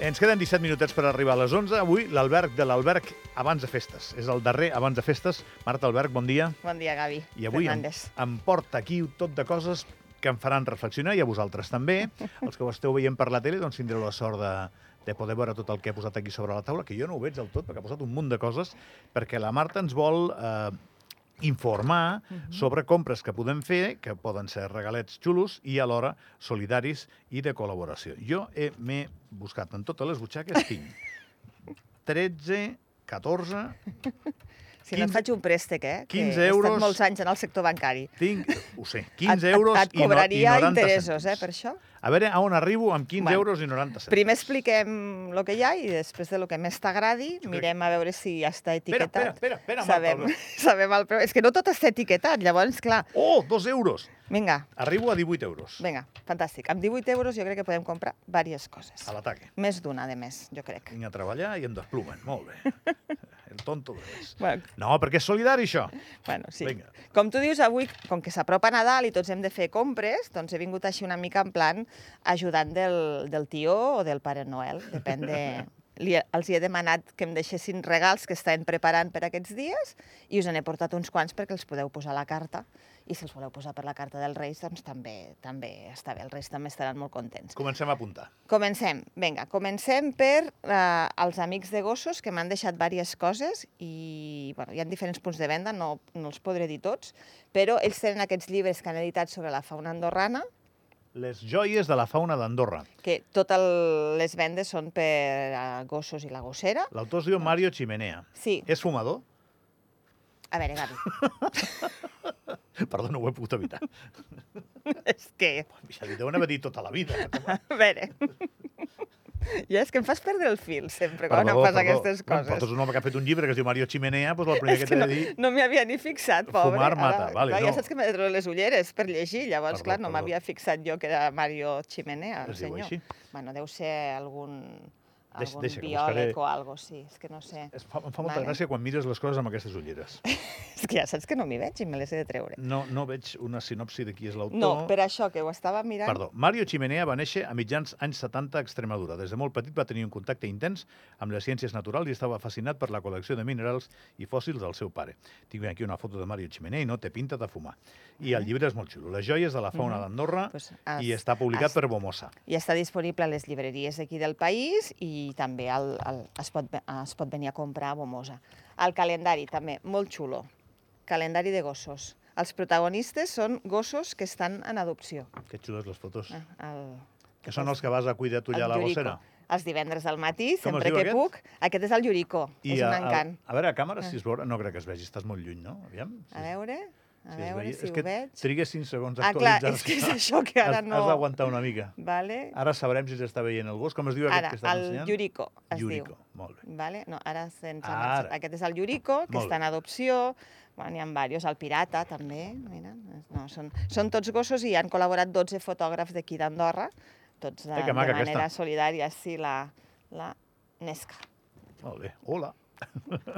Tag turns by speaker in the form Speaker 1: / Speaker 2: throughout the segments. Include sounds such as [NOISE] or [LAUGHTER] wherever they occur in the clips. Speaker 1: Ens queden 17 minutets per arribar a les 11. Avui l'alberg de l'alberg abans de festes. És el darrer abans de festes. Marta Alberg, bon dia.
Speaker 2: Bon dia, Gavi.
Speaker 1: I avui em,
Speaker 2: Fernández.
Speaker 1: em porta aquí tot de coses que em faran reflexionar i a vosaltres també. Els que ho esteu veient per la tele, doncs tindreu la sort de, de poder veure tot el que he posat aquí sobre la taula, que jo no ho veig del tot, perquè ha posat un munt de coses, perquè la Marta ens vol eh, informar sobre compres que podem fer, que poden ser regalets xulos i alhora solidaris i de col·laboració. Jo he- m'he buscat en totes les butxaques, tinc 13, 14,
Speaker 2: Si no et
Speaker 1: 15
Speaker 2: faig un préstec, eh? que
Speaker 1: 15
Speaker 2: He
Speaker 1: euros.
Speaker 2: estat molts anys en el sector bancari.
Speaker 1: tinc, ho sé,
Speaker 2: Et-
Speaker 1: 15
Speaker 2: et-
Speaker 1: euros
Speaker 2: et,
Speaker 1: i, no, i
Speaker 2: cobraria
Speaker 1: 90
Speaker 2: interessos, eh,
Speaker 1: cèntims.
Speaker 2: per això.
Speaker 1: A veure a on arribo amb 15
Speaker 2: Bueno,
Speaker 1: euros i 90 cèntims.
Speaker 2: Primer expliquem el que hi ha i després de lo que més t'agradi
Speaker 1: crec-
Speaker 2: mirem a veure si ja està
Speaker 1: Espera,
Speaker 2: etiquetat.
Speaker 1: espera, espera, espera, Marta.
Speaker 2: sabem,
Speaker 1: Albert.
Speaker 2: [LAUGHS] sabem el preu. És que no tot està etiquetat, llavors, clar.
Speaker 1: Oh, dos euros!
Speaker 2: Vinga,
Speaker 1: Arribo a 18 euros.
Speaker 2: vinga, fantàstic. Amb 18 euros jo crec que podem comprar diverses coses.
Speaker 1: A l'ataque.
Speaker 2: Més d'una, de més, jo crec.
Speaker 1: Vinc a treballar i em desplumen. Molt bé. [LAUGHS] El tonto de res.
Speaker 2: Bueno,
Speaker 1: No, perquè és solidari, això.
Speaker 2: Bueno, sí.
Speaker 1: Vinga.
Speaker 2: Vinga. Com tu dius, avui, com que s'apropa Nadal i tots hem de fer compres, doncs he vingut així una mica en plan ajudant del, del tio o del Pare Noel, depèn de... Li, els hi he demanat que em deixessin regals que estaven preparant per aquests dies i us n'he portat uns quants perquè els podeu posar a la carta i si els voleu posar per la carta dels Reis, doncs també també està bé, els Reis també estaran molt contents.
Speaker 1: Comencem a apuntar.
Speaker 2: Comencem, vinga, comencem per eh, els amics de gossos que m'han deixat diverses coses i bueno, hi ha diferents punts de venda, no, no els podré dir tots, però ells tenen aquests llibres que han editat sobre la fauna andorrana,
Speaker 1: Les joies de la fauna d'Andorra.
Speaker 2: que totes les vendes són per a gossos i la gossera.
Speaker 1: L'autor es diu Mario Chimenea.
Speaker 2: Sí,
Speaker 1: És fumador? [LAUGHS]
Speaker 2: a veure, Gavi,
Speaker 1: Perdó, no ho he pogut evitar.
Speaker 2: [LAUGHS] és que...
Speaker 1: Ja li deuen haver dit tota la vida.
Speaker 2: A veure... [LAUGHS] Ja és que em fas perdre el fil sempre quan
Speaker 1: Perdó,
Speaker 2: em fas
Speaker 1: perdó.
Speaker 2: aquestes
Speaker 1: Bueno, però
Speaker 2: coses.
Speaker 1: és un home que ha fet un llibre que es diu Mario Chimenea, doncs el primer
Speaker 2: És
Speaker 1: que
Speaker 2: que
Speaker 1: t'he
Speaker 2: no,
Speaker 1: de dir...
Speaker 2: no m'hi havia ni fixat, pobre.
Speaker 1: Fumar mata, vale,
Speaker 2: clar,
Speaker 1: no.
Speaker 2: Ja saps que m'he de treure les ulleres per llegir, llavors,
Speaker 1: Perdó,
Speaker 2: clar, no
Speaker 1: perdó.
Speaker 2: m'havia fixat jo que era Mario Chimenea, el
Speaker 1: Es diu
Speaker 2: senyor.
Speaker 1: així.
Speaker 2: Bueno, deu ser algun,
Speaker 1: Deix-
Speaker 2: algun
Speaker 1: deixa que
Speaker 2: biòleg
Speaker 1: buscaré.
Speaker 2: o algo, sí, és que no sé.
Speaker 1: [LAUGHS] Es fa, em fa molta
Speaker 2: Vale.
Speaker 1: gràcia quan mires les coses amb aquestes ulleres.
Speaker 2: És que ja saps que no m'hi veig i me les he de treure.
Speaker 1: No, no veig una sinopsi de qui és l'autor.
Speaker 2: No, per això, que ho estava mirant...
Speaker 1: Perdó. Mario Chimenea va néixer a mitjans anys 70 a Extremadura. Des de molt petit va tenir un contacte intens amb les ciències naturals i estava fascinat per la col·lecció de minerals i fòssils del seu pare. Tinc aquí una foto de Mario Chimenea i no té pinta de fumar. I el llibre és molt xulo. Les joies de la fauna d'Andorra
Speaker 2: Eh? Mm. Pues ah, has-
Speaker 1: i està publicat
Speaker 2: has-
Speaker 1: per Bomosa.
Speaker 2: I està disponible a les llibreries d'aquí del país i també el, el, es, pot, ve- es pot venir a comprar a Bomosa. El calendari també, molt xulo. Calendari de gossos. Els protagonistes són gossos que estan en adopció.
Speaker 1: Que xules les fotos.
Speaker 2: Eh, El,
Speaker 1: Que són els que vas a cuidar tu allà a la
Speaker 2: Yuriko.
Speaker 1: bossera.
Speaker 2: Els divendres al matí,
Speaker 1: Com es
Speaker 2: sempre
Speaker 1: diu
Speaker 2: que
Speaker 1: aquest?
Speaker 2: puc. Aquest és el Yuriko, és un
Speaker 1: a, a,
Speaker 2: encant. Ah.
Speaker 1: a veure, a càmera, si es veurà, no crec que es vegi, estàs molt lluny, no? Aviam. si
Speaker 2: A
Speaker 1: es-
Speaker 2: veure,
Speaker 1: si
Speaker 2: a
Speaker 1: es
Speaker 2: veure
Speaker 1: veia.
Speaker 2: si
Speaker 1: és
Speaker 2: ho
Speaker 1: que
Speaker 2: veig.
Speaker 1: Trigues 5 segons a
Speaker 2: Ah, clar,
Speaker 1: actualitzar.
Speaker 2: és que
Speaker 1: [LAUGHS]
Speaker 2: és això que ara
Speaker 1: has,
Speaker 2: no...
Speaker 1: Has d'aguantar una mica.
Speaker 2: Vale?
Speaker 1: Ara sabrem si s'està veient el gos. Com es diu aquest
Speaker 2: Ara,
Speaker 1: que estàs
Speaker 2: el
Speaker 1: ensenyant?
Speaker 2: Yuriko es diu.
Speaker 1: Yuriko, molt bé.
Speaker 2: Vale? No, ara sense
Speaker 1: Ara.
Speaker 2: ara. Aquest és el Yuriko, que
Speaker 1: Molt
Speaker 2: està en adopció. Bueno, n'hi ha diversos. El Pirata, també. Mira. No, són, són tots gossos i han col·laborat 12 fotògrafs d'aquí d'Andorra, tots de,
Speaker 1: Eh, que
Speaker 2: de
Speaker 1: maca
Speaker 2: manera
Speaker 1: aquesta.
Speaker 2: solidària. Sí, la, la
Speaker 1: [LAUGHS]
Speaker 2: Nesca.
Speaker 1: Molt bé. Hola.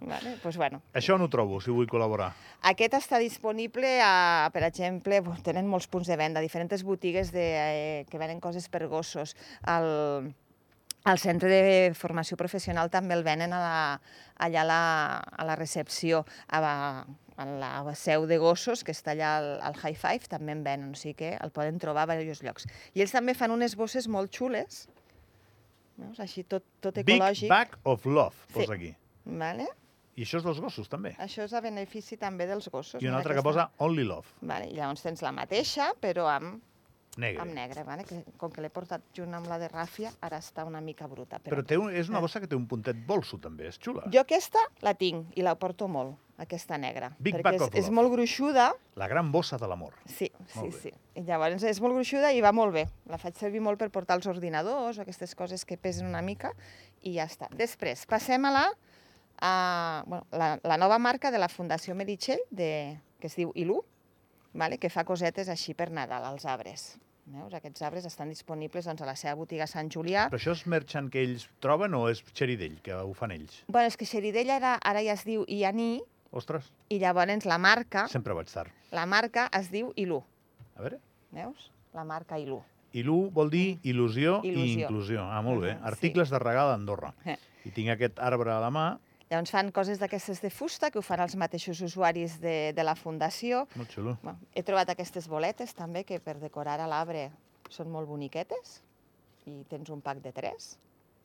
Speaker 2: Vale? pues, bueno.
Speaker 1: Això no ho trobo, si vull col·laborar.
Speaker 2: Aquest està disponible, a, per exemple, bu- tenen molts punts de venda, diferents botigues de, eh, que venen coses per gossos. El, el centre de formació professional també el venen a la, allà a la, a la recepció, a la, a la seu de gossos, que està allà al, al High Five, també en venen, o sigui que el poden trobar a diversos llocs. I ells també fan unes bosses molt xules, veus? així tot, tot
Speaker 1: Big
Speaker 2: ecològic.
Speaker 1: Bag of Love,
Speaker 2: Sí.
Speaker 1: posa aquí.
Speaker 2: Vale?
Speaker 1: I això és dels gossos, també.
Speaker 2: Això és a benefici també dels gossos.
Speaker 1: I un
Speaker 2: mira
Speaker 1: altre que
Speaker 2: aquesta.
Speaker 1: posa Only Love,
Speaker 2: Vale, i llavors tens la mateixa, però amb, amb
Speaker 1: negre.
Speaker 2: negre, vale? que, com que l'he portat junt amb la de Ràfia, ara està una mica bruta. Però,
Speaker 1: Però té un, és una bossa que té un puntet bolso, també. És xula.
Speaker 2: Ah. Jo aquesta la tinc i la porto molt, aquesta negra.
Speaker 1: Big
Speaker 2: perquè
Speaker 1: Pack
Speaker 2: és,
Speaker 1: of
Speaker 2: és
Speaker 1: Love.
Speaker 2: molt gruixuda,
Speaker 1: La gran bossa de l'amor.
Speaker 2: sí, sí,
Speaker 1: Molt bé.
Speaker 2: sí. I llavors és molt gruixuda i va molt bé. La faig servir molt per portar els ordinadors o aquestes coses que pesen una mica i ja està. Després, passem a la, a, bueno, la, la nova marca de la Fundació Meritxell, de, que es diu ILU, vale? que fa cosetes així per Nadal als arbres. Veus? Aquests arbres estan disponibles doncs, a la seva botiga Sant Julià.
Speaker 1: Però això és merchant que ells troben o és xeri d'ell, que ho fan ells?
Speaker 2: Bueno, és que Xeridella era, ara ja es diu Ianí
Speaker 1: Ostres,
Speaker 2: i llavors la marca,
Speaker 1: sempre vaig tard.
Speaker 2: la marca es diu ILU.
Speaker 1: A veure,
Speaker 2: Veus? La marca ILU.
Speaker 1: Il·lu vol dir il·lusió, i
Speaker 2: Mm. Il·lusió.
Speaker 1: inclusió. Ah, molt bé.
Speaker 2: Mhm, sí.
Speaker 1: Articles de regal a Andorra.
Speaker 2: Eh.
Speaker 1: I tinc aquest arbre a la mà,
Speaker 2: Llavors fan coses d'aquestes de fusta que ho fan els mateixos usuaris de, de la fundació.
Speaker 1: molt xulo.
Speaker 2: Bueno, he trobat aquestes boletes també que per decorar a l'arbre són molt boniquetes i tens un pack de tres.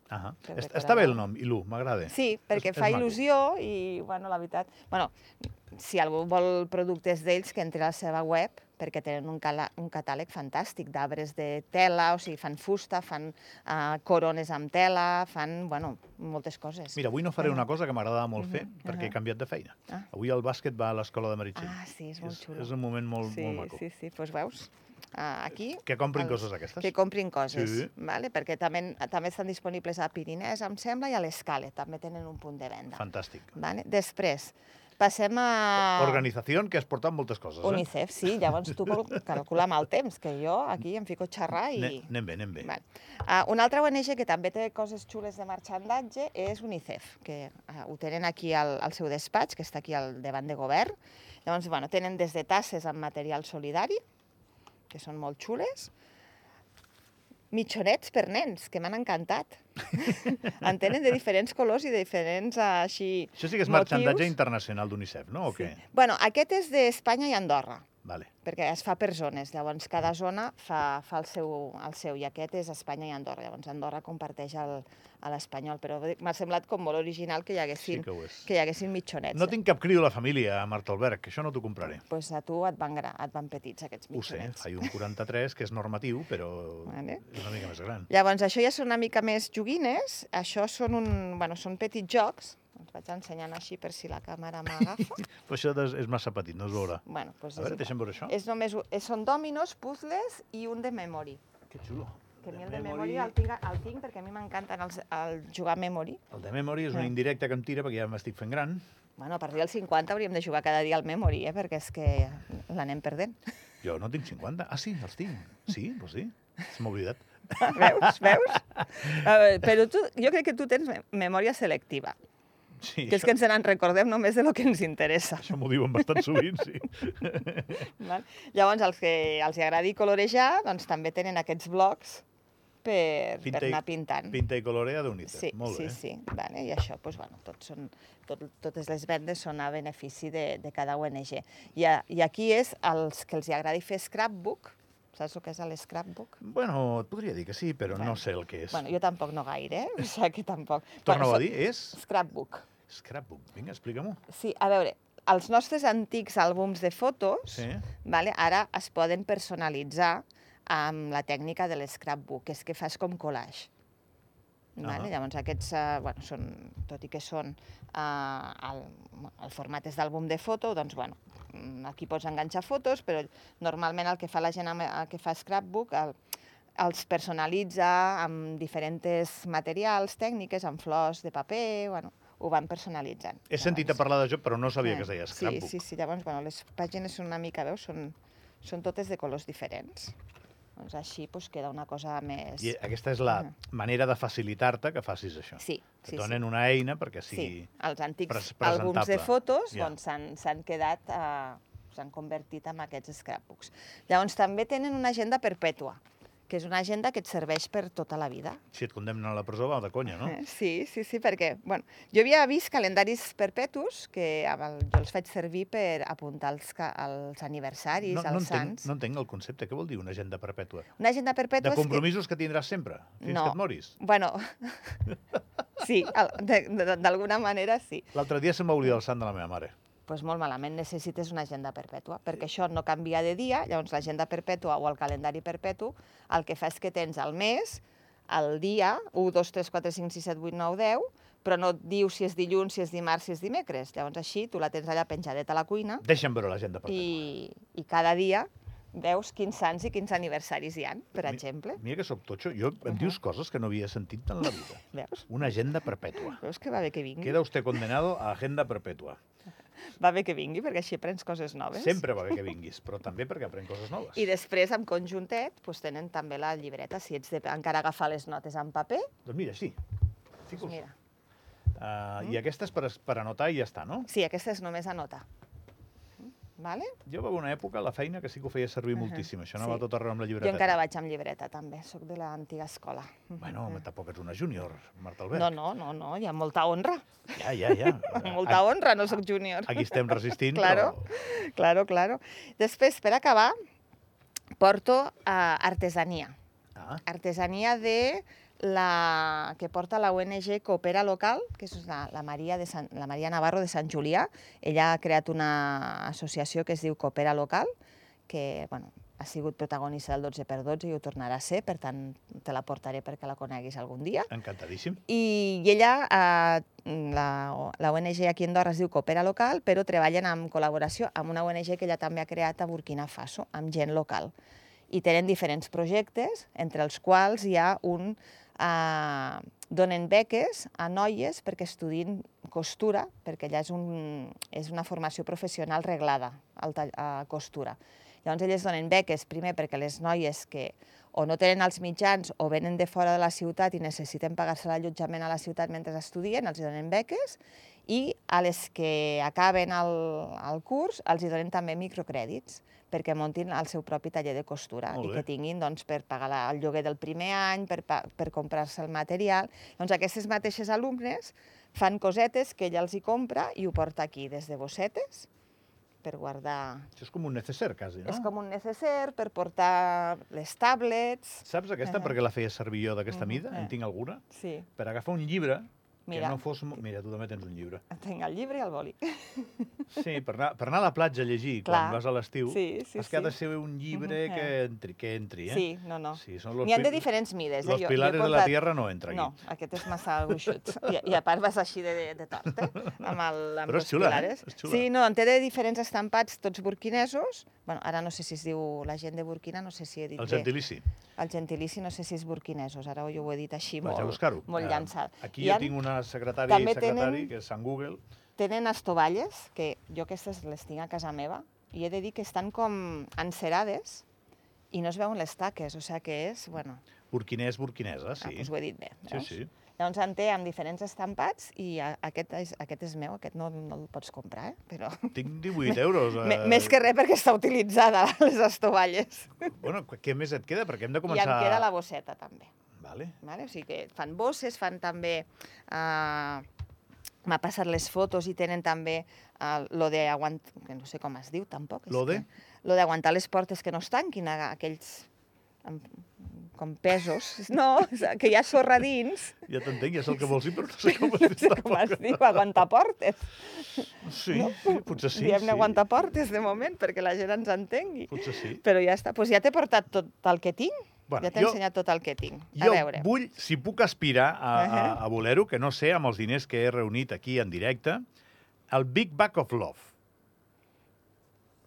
Speaker 1: Ah
Speaker 2: Per
Speaker 1: Est
Speaker 2: decorar
Speaker 1: Està bé
Speaker 2: la-
Speaker 1: el nom, il·lu, m'agrada.
Speaker 2: Sí, perquè
Speaker 1: és
Speaker 2: fa
Speaker 1: maco.
Speaker 2: il·lusió i, bueno, la veritat... Bueno, si algú vol productes d'ells, que entri a la seva web, perquè tenen un, cala, un catàleg fantàstic d'arbres de tela, o sigui, fan fusta, fan uh, corones amb tela, fan, bueno, moltes coses.
Speaker 1: Mira, avui no faré
Speaker 2: Bueno.
Speaker 1: una cosa que m'agradava molt
Speaker 2: Mhm,
Speaker 1: fer, perquè he
Speaker 2: aha.
Speaker 1: canviat de feina.
Speaker 2: Ah.
Speaker 1: Avui el bàsquet va a l'escola de Meritxell.
Speaker 2: ah, sí, és molt
Speaker 1: és,
Speaker 2: xulo.
Speaker 1: és un moment molt,
Speaker 2: sí,
Speaker 1: molt maco.
Speaker 2: sí, sí, doncs veus, uh, aquí...
Speaker 1: Que comprin
Speaker 2: Els-
Speaker 1: coses aquestes.
Speaker 2: Que comprin coses,
Speaker 1: Sí.
Speaker 2: vale? perquè també, també estan disponibles a Pirinès, em sembla, i a l'Escala, també tenen un punt de venda.
Speaker 1: Fantàstic.
Speaker 2: Vale? Després, passem a...
Speaker 1: Organització que has portat moltes coses, eh?
Speaker 2: Ah. UNICEF, sí, llavors tu cal- calcula amb el temps, que jo aquí em fico a xerrar i...
Speaker 1: Ne- Anem bé, anem bé.
Speaker 2: Val. Ah, una altra ONG que també té coses xules de marxandatge és UNICEF, que ah, ho tenen aquí al, al seu despatx, que està aquí al davant de govern. Llavors, bueno, tenen des de tasses amb material solidari, que són molt xules, mitjonets per nens, que m'han encantat. [LAUGHS] en tenen de diferents colors i de diferents ah, així
Speaker 1: Això sí que és
Speaker 2: motius.
Speaker 1: marxandatge internacional d'UNICEF, no? O què?
Speaker 2: Sí. Bueno, aquest és d'Espanya i Andorra
Speaker 1: Vale.
Speaker 2: perquè es fa per zones, llavors cada zona fa, fa el, seu, el seu, i aquest és Espanya i Andorra, llavors Andorra comparteix el, a l'espanyol, però vull dir, m'ha semblat com molt original que hi
Speaker 1: Sí
Speaker 2: haguessin,
Speaker 1: que ho és.
Speaker 2: que hi haguessin mitjonets. eh?
Speaker 1: No tinc cap criu a la família, a Martelberg, que això no t'ho compraré.
Speaker 2: pues a tu et van, gra, et van petits aquests
Speaker 1: Ho sé,
Speaker 2: mitjonets.
Speaker 1: hi un 43 que és normatiu, però
Speaker 2: Vale.
Speaker 1: és una mica més gran.
Speaker 2: Llavors, això ja són una mica més joguines, això són, un, bueno, són petits jocs, els vaig ensenyant així per si la càmera m'agafa.
Speaker 1: [LAUGHS] Però això des- és massa petit, no es veurà.
Speaker 2: bueno,
Speaker 1: A
Speaker 2: doncs és
Speaker 1: veure,
Speaker 2: igual.
Speaker 1: deixa'm veure això.
Speaker 2: és només, un- és, són dominos, puzzles i un de memory.
Speaker 1: Que xulo.
Speaker 2: Que a mi el de memory el tinc, el tinc perquè a mi m'encanten els, el jugar a memory.
Speaker 1: El de memory és una
Speaker 2: Sí.
Speaker 1: indirecta que em tira perquè ja m'estic fent gran.
Speaker 2: Bueno, a partir dels 50 hauríem de jugar cada dia al memory, eh? perquè és que l'anem perdent. [LAUGHS]
Speaker 1: Jo no tinc 50. Ah, sí, els tinc. Sí, doncs sí. Se m'ha oblidat.
Speaker 2: Veus? Veus? A veure, però tu, jo crec que tu tens me- memòria selectiva,
Speaker 1: Sí,
Speaker 2: que és que ens en recordem només de lo que ens interessa. [LAUGHS]
Speaker 1: això m'ho diuen bastant sovint, sí.
Speaker 2: Val? Llavors, els que els hi agradi colorejar, doncs també tenen aquests blocs per, per
Speaker 1: i-
Speaker 2: anar pintant.
Speaker 1: Pinta i colorea d'Unita.
Speaker 2: Sí,
Speaker 1: Molt
Speaker 2: sí,
Speaker 1: bé.
Speaker 2: sí. Vale, I això, doncs, bueno, tot són, tot, totes les vendes són a benefici de, de cada ONG. I, a, I aquí és els que els hi agradi fer scrapbook. Saps el que és l'scrapbook?
Speaker 1: Bueno, et podria dir que sí, però
Speaker 2: Bueno.
Speaker 1: no sé el que és.
Speaker 2: Bueno, jo tampoc no gaire, eh? [LAUGHS] o sigui que tampoc.
Speaker 1: Torna-ho
Speaker 2: Bueno,
Speaker 1: a dir, és
Speaker 2: so- Scrapbook.
Speaker 1: scrapbook. Vinga, explica-m'ho.
Speaker 2: Sí, a veure, els nostres antics àlbums de fotos
Speaker 1: Sí.
Speaker 2: vale, ara es poden personalitzar amb la tècnica de l'scrapbook, que és que fas com collage. Vale?
Speaker 1: Ahà.
Speaker 2: Llavors aquests, eh, bueno, són, tot i que són, eh, el, el format és d'àlbum de foto, doncs bueno, mm, aquí pots enganxar fotos, però normalment el que fa la gent, amb, el que fa scrapbook, el, els personalitza amb diferents materials, tècniques, amb flors de paper, bueno, ho van personalitzant.
Speaker 1: He sentit a
Speaker 2: Llavors-
Speaker 1: parlar d'això, però no sabia que es
Speaker 2: Eh, Sí,
Speaker 1: deia scrapbook.
Speaker 2: Sí, sí, sí. Llavors, bueno, les pàgines són una mica, veus, són, són totes de colors diferents. Doncs així doncs, queda una cosa més...
Speaker 1: I eh, aquesta és la
Speaker 2: Ah.
Speaker 1: manera de facilitar-te que facis això.
Speaker 2: Sí,
Speaker 1: Et
Speaker 2: sí, sí.
Speaker 1: donen una eina perquè
Speaker 2: sí.
Speaker 1: sigui...
Speaker 2: Els antics
Speaker 1: pres-
Speaker 2: àlbums de
Speaker 1: presentable.
Speaker 2: fotos
Speaker 1: Ja.
Speaker 2: doncs, s'han s'han quedat... Eh, s'han convertit en aquests scrapbooks. Llavors, també tenen una agenda perpètua, que és una agenda que et serveix per tota la vida.
Speaker 1: Si et condemnen a la presó, va de conya, no?
Speaker 2: Eh, Sí, sí, sí, perquè bueno, jo havia vist calendaris perpetus que amb el, jo els faig servir per apuntar els, ca- els aniversaris,
Speaker 1: no, no,
Speaker 2: els
Speaker 1: entenc,
Speaker 2: sants.
Speaker 1: no entenc el concepte. Què vol dir una agenda perpètua?
Speaker 2: Una agenda
Speaker 1: De
Speaker 2: perpètua és que...
Speaker 1: compromisos que... tindràs sempre, fins
Speaker 2: No.
Speaker 1: que et moris. [LAUGHS]
Speaker 2: Bueno, sí, al- de- de- d'alguna manera sí.
Speaker 1: L'altre dia se'm va oblidar el sant de la meva mare.
Speaker 2: Doncs molt malament, necessites una agenda perpètua, perquè això no canvia de dia, llavors l'agenda perpètua o el calendari perpètu el que fa és que tens el mes, el dia, 1, 2, 3, 4, 5, 6, 7, 8, 9, 10, però no et diu si és dilluns, si és dimarts, si és dimecres. Llavors així tu la tens allà penjadeta a la cuina
Speaker 1: Deixa'm veure l'agenda perpètua.
Speaker 2: i, i cada dia veus quins sants i quins aniversaris hi han, per
Speaker 1: Doncs Mi-
Speaker 2: exemple.
Speaker 1: Mira que sóc totxo, jo em dius coses que no havia sentit en la vida.
Speaker 2: [LAUGHS] Veus? Mm.
Speaker 1: Una agenda perpètua.
Speaker 2: Veus que va bé que vingui?
Speaker 1: Queda usted condenado a agenda perpètua.
Speaker 2: Va bé que vingui, perquè així aprens coses noves.
Speaker 1: Sempre va bé que vinguis, però també perquè aprèn coses noves.
Speaker 2: Ah, I després, amb conjuntet, doncs, tenen també la llibreta, si ets de encara agafar les notes en paper,
Speaker 1: Doncs mira, així.
Speaker 2: doncs
Speaker 1: Fico-ho.
Speaker 2: mira.
Speaker 1: Ah,
Speaker 2: Mm-hmm.
Speaker 1: Uh, I aquesta és per, per anotar i ja està, no?
Speaker 2: Sí, aquesta és només anota. Mm, vale?
Speaker 1: Jo va una època a la feina que sí que ho feia servir
Speaker 2: Ahà,
Speaker 1: moltíssim, això anava
Speaker 2: sí.
Speaker 1: tot arreu amb la
Speaker 2: Jo
Speaker 1: llibreta.
Speaker 2: encara vaig amb llibreta, també, sóc de l'antiga escola. Mm-hmm.
Speaker 1: Bueno, home, tampoc ets una júnior, Marta Albert.
Speaker 2: No, no, no, no, hi ha molta honra,
Speaker 1: Ja, ja, ja.
Speaker 2: [LAUGHS] molta honra, no sóc júnior.
Speaker 1: Aquí estem resistint,
Speaker 2: [LAUGHS] Claro.
Speaker 1: però...
Speaker 2: Claro, claro. Després, per acabar, porto a artesania.
Speaker 1: Ah,
Speaker 2: Artesania de la que porta la ONG Coopera Local, que és la, la, Maria de Sant, la Maria Navarro de Sant Julià. Ella ha creat una associació que es diu Coopera Local, que bueno, ha sigut protagonista del 12x12 i ho tornarà a ser, per tant te la portaré perquè la coneguis algun dia.
Speaker 1: encantadíssim.
Speaker 2: I, i ella, eh, la, o- la ONG aquí a Andorra es diu Coopera Local, però treballen en col·laboració amb una ONG que ella també ha creat a Burkina Faso, amb gent local. I tenen diferents projectes, entre els quals hi ha un... Eh, donen beques a noies perquè estudin costura, perquè allà és, un, és una formació professional reglada al tall- a costura. Llavors elles donen beques primer perquè les noies que o no tenen els mitjans o venen de fora de la ciutat i necessiten pagar-se l'allotjament a la ciutat mentre estudien, els hi donen beques, i a les que acaben el, el curs els hi donen també microcrèdits perquè montin el seu propi taller de costura
Speaker 1: Molt
Speaker 2: i
Speaker 1: bé.
Speaker 2: que tinguin doncs, per pagar la, el lloguer del primer any, per, pa- per comprar-se el material. Doncs aquestes mateixes alumnes fan cosetes que ella els hi compra i ho porta aquí, des de bossetes, per guardar
Speaker 1: Això és com un necesser, quasi, no?
Speaker 2: és com un necesser per portar les tablets.
Speaker 1: Saps aquesta?
Speaker 2: Ahà.
Speaker 1: Perquè la feia servir jo d'aquesta
Speaker 2: Mhm,
Speaker 1: mida, en
Speaker 2: eh.
Speaker 1: tinc alguna,
Speaker 2: Sí.
Speaker 1: per agafar un llibre
Speaker 2: Mira.
Speaker 1: que no fos... mo- Mira, tu també tens un llibre.
Speaker 2: [LAUGHS] Tinc el llibre i el boli.
Speaker 1: Sí, per anar, per anar a la platja a llegir
Speaker 2: Clar.
Speaker 1: quan vas a l'estiu,
Speaker 2: Sí, sí,
Speaker 1: has que ha de
Speaker 2: sí.
Speaker 1: ser un llibre
Speaker 2: Mhm,
Speaker 1: que
Speaker 2: eh.
Speaker 1: entri, que entri, eh?
Speaker 2: Sí, no, no.
Speaker 1: sí són los
Speaker 2: N'hi ha de
Speaker 1: pi-
Speaker 2: diferents mides. Eh?
Speaker 1: Los pilares de la
Speaker 2: comprat-
Speaker 1: tierra no entra aquí.
Speaker 2: No, aquest és massa gruixut. I, I a part vas així de, de tort, eh? Amb el, amb
Speaker 1: Però és
Speaker 2: los
Speaker 1: xula, eh?
Speaker 2: pilares.
Speaker 1: És xula.
Speaker 2: Sí, no, en té de diferents estampats, tots burquinesos. Bueno, ara no sé si es diu la gent de Burkina, no sé si he dit
Speaker 1: El
Speaker 2: bé.
Speaker 1: gentilici.
Speaker 2: El gentilici no sé si és burquinesos, ara jo ho he dit així
Speaker 1: Vaig a
Speaker 2: molt,
Speaker 1: buscar-ho.
Speaker 2: molt
Speaker 1: Eh,
Speaker 2: llançat.
Speaker 1: Aquí
Speaker 2: Hi
Speaker 1: jo
Speaker 2: han-
Speaker 1: tinc una secretària i
Speaker 2: també tenen-
Speaker 1: secretari, que és Sant Google.
Speaker 2: Tenen estovalles, que jo aquestes les tinc a casa meva, i he de dir que estan com encerades i no es veuen les taques, o sigui que és, bueno,
Speaker 1: Burquinès, burquinesa,
Speaker 2: sí. ah,
Speaker 1: sí.
Speaker 2: doncs ho he dit bé.
Speaker 1: sí,
Speaker 2: veus?
Speaker 1: sí.
Speaker 2: Llavors en té amb diferents estampats i a, aquest, és, aquest és meu, aquest no, no el pots comprar, eh? però [LAUGHS]
Speaker 1: Tinc 18 euros. eh,
Speaker 2: me, més que res perquè està utilitzada [LAUGHS] les estovalles.
Speaker 1: Bueno, qu- què més et queda? Perquè hem de
Speaker 2: Començar... I
Speaker 1: començar...
Speaker 2: em queda la bosseta també.
Speaker 1: Vale.
Speaker 2: Vale? O sigui que fan bosses, fan també... Eh, M'ha passat les fotos i tenen també eh, lo de aguant... que no sé com es diu tampoc. és
Speaker 1: Lo de?
Speaker 2: Que, lo d'aguantar les portes que no es tanquin, a- aquells amb, com pesos, [LAUGHS] no, que hi ha
Speaker 1: [LAUGHS]
Speaker 2: sorra dins,
Speaker 1: Ja t'entenc, ja sé el que vols dir, però no sé com es
Speaker 2: no sé
Speaker 1: diu.
Speaker 2: [LAUGHS] com es diu, aguantar portes.
Speaker 1: Sí, sí, potser sí.
Speaker 2: Diem-ne
Speaker 1: sí.
Speaker 2: aguantar portes de moment perquè la gent ens entengui.
Speaker 1: Potser sí.
Speaker 2: Però ja està, doncs ja t'he portat tot el que tinc,
Speaker 1: Bueno,
Speaker 2: ja t'he
Speaker 1: jo-
Speaker 2: ensenyat tot el que tinc. A
Speaker 1: Jo
Speaker 2: veure,
Speaker 1: vull, si puc aspirar a, a,
Speaker 2: Ahà.
Speaker 1: a voler-ho, que no sé, amb els diners que he reunit aquí en directe, el Big Back of Love.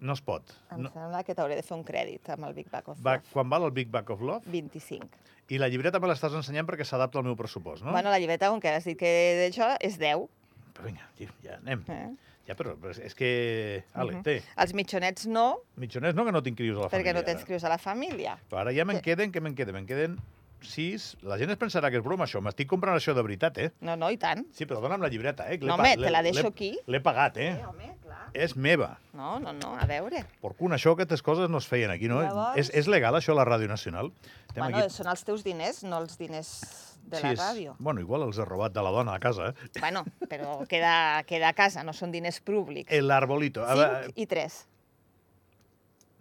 Speaker 1: No es pot.
Speaker 2: em
Speaker 1: No,
Speaker 2: sembla que t'hauré de fer un crèdit amb el Big Back of
Speaker 1: va,
Speaker 2: Love.
Speaker 1: quan val el Big Back of Love?
Speaker 2: 25.
Speaker 1: I la llibreta me l'estàs ensenyant perquè s'adapta al meu pressupost, no?
Speaker 2: No? Bueno, la llibreta, com que has dit que d'això és 10.
Speaker 1: Però vinga, ja, ja anem.
Speaker 2: Eh?
Speaker 1: Ja, però però és- és que... Ale, té.
Speaker 2: Els mitjonets no,
Speaker 1: Mitjoners no, que no tinc crios a la
Speaker 2: perquè
Speaker 1: família. eh?
Speaker 2: no t'inscrius a la família.
Speaker 1: Però ara ja me'n
Speaker 2: Sí.
Speaker 1: queden, que me'n queden? Me'n queden sis. La gent es pensarà que és broma, això. M'estic comprant això de veritat, eh?
Speaker 2: No, no, i tant.
Speaker 1: Sí, però dona'm la llibreta, eh? que l'he
Speaker 2: No,
Speaker 1: pa-
Speaker 2: home,
Speaker 1: l'he-
Speaker 2: te la deixo
Speaker 1: l'he-
Speaker 2: aquí.
Speaker 1: L'he pagat, eh?
Speaker 2: home, clar.
Speaker 1: És meva.
Speaker 2: No, no, no, a veure.
Speaker 1: Porcun, això, aquestes coses no es feien aquí, no?
Speaker 2: Llavors-
Speaker 1: És, és legal, això, a la Ràdio Nacional? Estem
Speaker 2: bueno, són els teus diners, no els diners de la
Speaker 1: és-
Speaker 2: ràdio.
Speaker 1: Bueno, igual els ha robat de la dona a casa, eh?
Speaker 2: Bueno, però queda, queda a casa, no són diners públics.
Speaker 1: El arbolito. A veure, eh,
Speaker 2: 5 i 3.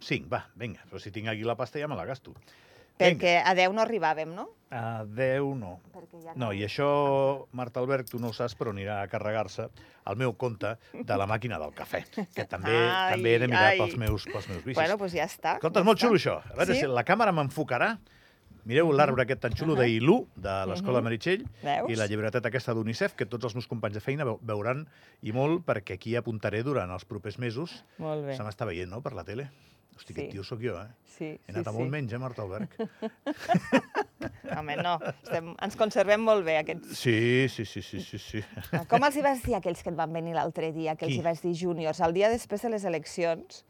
Speaker 1: Cinc, va, vinga. Però si tinc aquí la pasta ja me la gasto. Vinga.
Speaker 2: Perquè a 10 no arribàvem, no?
Speaker 1: A 10 no.
Speaker 2: Perquè ja
Speaker 1: No, i això, Marta Albert, tu no ho saps, però anirà a carregar-se al meu compte de la màquina del cafè, que també
Speaker 2: [LAUGHS] Ai,
Speaker 1: també he de mirar
Speaker 2: ai.
Speaker 1: pels meus, pels meus vicis.
Speaker 2: Bueno,
Speaker 1: Bueno,
Speaker 2: doncs pues ja està.
Speaker 1: Escolta,
Speaker 2: ja
Speaker 1: és molt
Speaker 2: està.
Speaker 1: xulo això. A veure
Speaker 2: Sí?
Speaker 1: si la càmera m'enfocarà. Mireu l'arbre aquest tan xulo d'Ilú,
Speaker 2: Mhm.
Speaker 1: de l'Escola Meritxell,
Speaker 2: Veus?
Speaker 1: i la llibreteta aquesta d'UNICEF, que tots els meus companys de feina veu- veuran, i molt, perquè aquí apuntaré durant els propers mesos.
Speaker 2: Molt Ah, bé.
Speaker 1: Se m'està veient, no?, per la tele. Hosti, aquest
Speaker 2: Sí.
Speaker 1: tio sóc jo, eh?
Speaker 2: Sí,
Speaker 1: He
Speaker 2: sí,
Speaker 1: anat a molt
Speaker 2: sí.
Speaker 1: menys, eh, Marta
Speaker 2: [LAUGHS]
Speaker 1: Alberg?
Speaker 2: Home, no, estem, ens conservem molt bé aquests
Speaker 1: Sí, sí, sí, sí, sí, sí.
Speaker 2: Ah, Com els hi vas dir a aquells que et van venir l'altre dia, que els
Speaker 1: Qui?
Speaker 2: hi vas dir júniors, el dia després de les eleccions,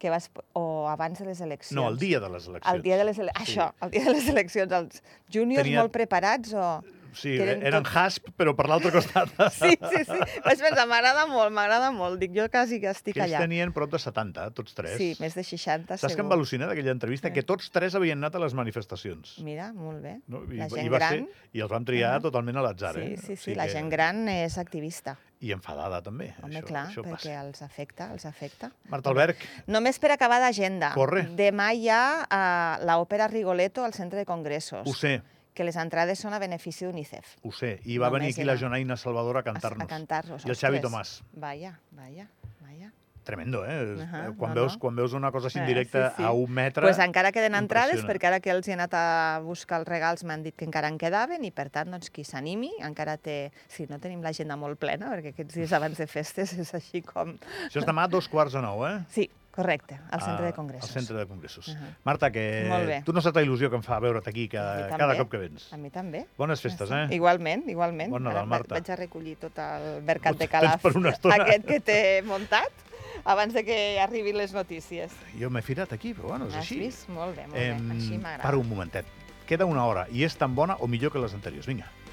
Speaker 2: que vas, o abans de les eleccions?
Speaker 1: No, el dia de les eleccions.
Speaker 2: El dia de les ele... Això, el dia de les eleccions, els júniors
Speaker 1: Tenia-
Speaker 2: molt preparats o...
Speaker 1: Sí,
Speaker 2: que eren
Speaker 1: eren
Speaker 2: tots-
Speaker 1: hasp, però per l'altre costat.
Speaker 2: Sí, sí, sí. Vaig pensar, m'agrada molt, m'agrada molt. Dic, jo quasi que estic
Speaker 1: Que ells
Speaker 2: allà.
Speaker 1: tenien prop de 70, tots tres.
Speaker 2: Sí, més de 60,
Speaker 1: Saps que em va
Speaker 2: segur.
Speaker 1: al·lucinar d'aquella entrevista?
Speaker 2: Eh.
Speaker 1: Que tots tres havien anat a les manifestacions.
Speaker 2: Mira, molt bé.
Speaker 1: No?
Speaker 2: Mm. La gent
Speaker 1: va
Speaker 2: gran.
Speaker 1: Ser, I els vam triar
Speaker 2: Ah.
Speaker 1: totalment a l'atzar.
Speaker 2: Sí,
Speaker 1: eh?
Speaker 2: sí,
Speaker 1: O
Speaker 2: sí,
Speaker 1: sigui
Speaker 2: la
Speaker 1: que-
Speaker 2: gent gran és activista.
Speaker 1: I enfadada, també.
Speaker 2: Home,
Speaker 1: això,
Speaker 2: clar,
Speaker 1: això
Speaker 2: perquè
Speaker 1: passa.
Speaker 2: els afecta, els afecta.
Speaker 1: Marta Alberg,
Speaker 2: Només per acabar d'agenda.
Speaker 1: Corre.
Speaker 2: Demà hi ha eh, l'òpera Rigoletto al Centre de Congressos,
Speaker 1: ho sé,
Speaker 2: que les entrades són a benefici d'UNICEF.
Speaker 1: ho sé. I va
Speaker 2: Només
Speaker 1: venir aquí
Speaker 2: era-
Speaker 1: la Jonaina Salvador a
Speaker 2: A- A
Speaker 1: cantar-nos.
Speaker 2: cantar-nos.
Speaker 1: I el
Speaker 2: els
Speaker 1: Xavi
Speaker 2: tres.
Speaker 1: Tomàs.
Speaker 2: Vaya, vaya, vaya.
Speaker 1: Tremendo, eh?
Speaker 2: Ahà,
Speaker 1: quan,
Speaker 2: no,
Speaker 1: veus,
Speaker 2: no.
Speaker 1: quan veus una cosa així en
Speaker 2: Eh,
Speaker 1: directe
Speaker 2: sí, sí.
Speaker 1: a un metre...
Speaker 2: Doncs pues encara queden entrades,
Speaker 1: impressiona.
Speaker 2: perquè ara que els he anat a buscar els regals m'han dit que encara en quedaven i, per tant, doncs, qui s'animi encara té... Sí, no tenim l'agenda molt plena, perquè aquests dies abans de festes és així com...
Speaker 1: Això és demà a dos quarts de nou, eh?
Speaker 2: Sí, correcte, al Centre
Speaker 1: Ah,
Speaker 2: de Congressos. Uh-huh.
Speaker 1: Al centre de congressos.
Speaker 2: Ahà.
Speaker 1: Marta, que
Speaker 2: Molt bé.
Speaker 1: tu no saps la il·lusió que em fa veure't aquí cada,
Speaker 2: A mi
Speaker 1: cada
Speaker 2: també.
Speaker 1: cop que vens.
Speaker 2: A mi també.
Speaker 1: Bones festes,
Speaker 2: Ja està.
Speaker 1: eh?
Speaker 2: Igualment, igualment.
Speaker 1: Bon Nadal,
Speaker 2: Ara va-
Speaker 1: Marta.
Speaker 2: Vaig a recollir tot el mercat de
Speaker 1: Ho tens
Speaker 2: Calaf,
Speaker 1: per una estona.
Speaker 2: aquest que t'he muntat, abans de que arribin les notícies.
Speaker 1: eh? Jo m'he firat aquí, però bueno, és
Speaker 2: Has
Speaker 1: Doncs així.
Speaker 2: vist? Molt bé, molt bé.
Speaker 1: Em,
Speaker 2: Així m'agrada.
Speaker 1: Para un momentet. Queda una hora i és tan bona o millor que les anteriors. Vinga.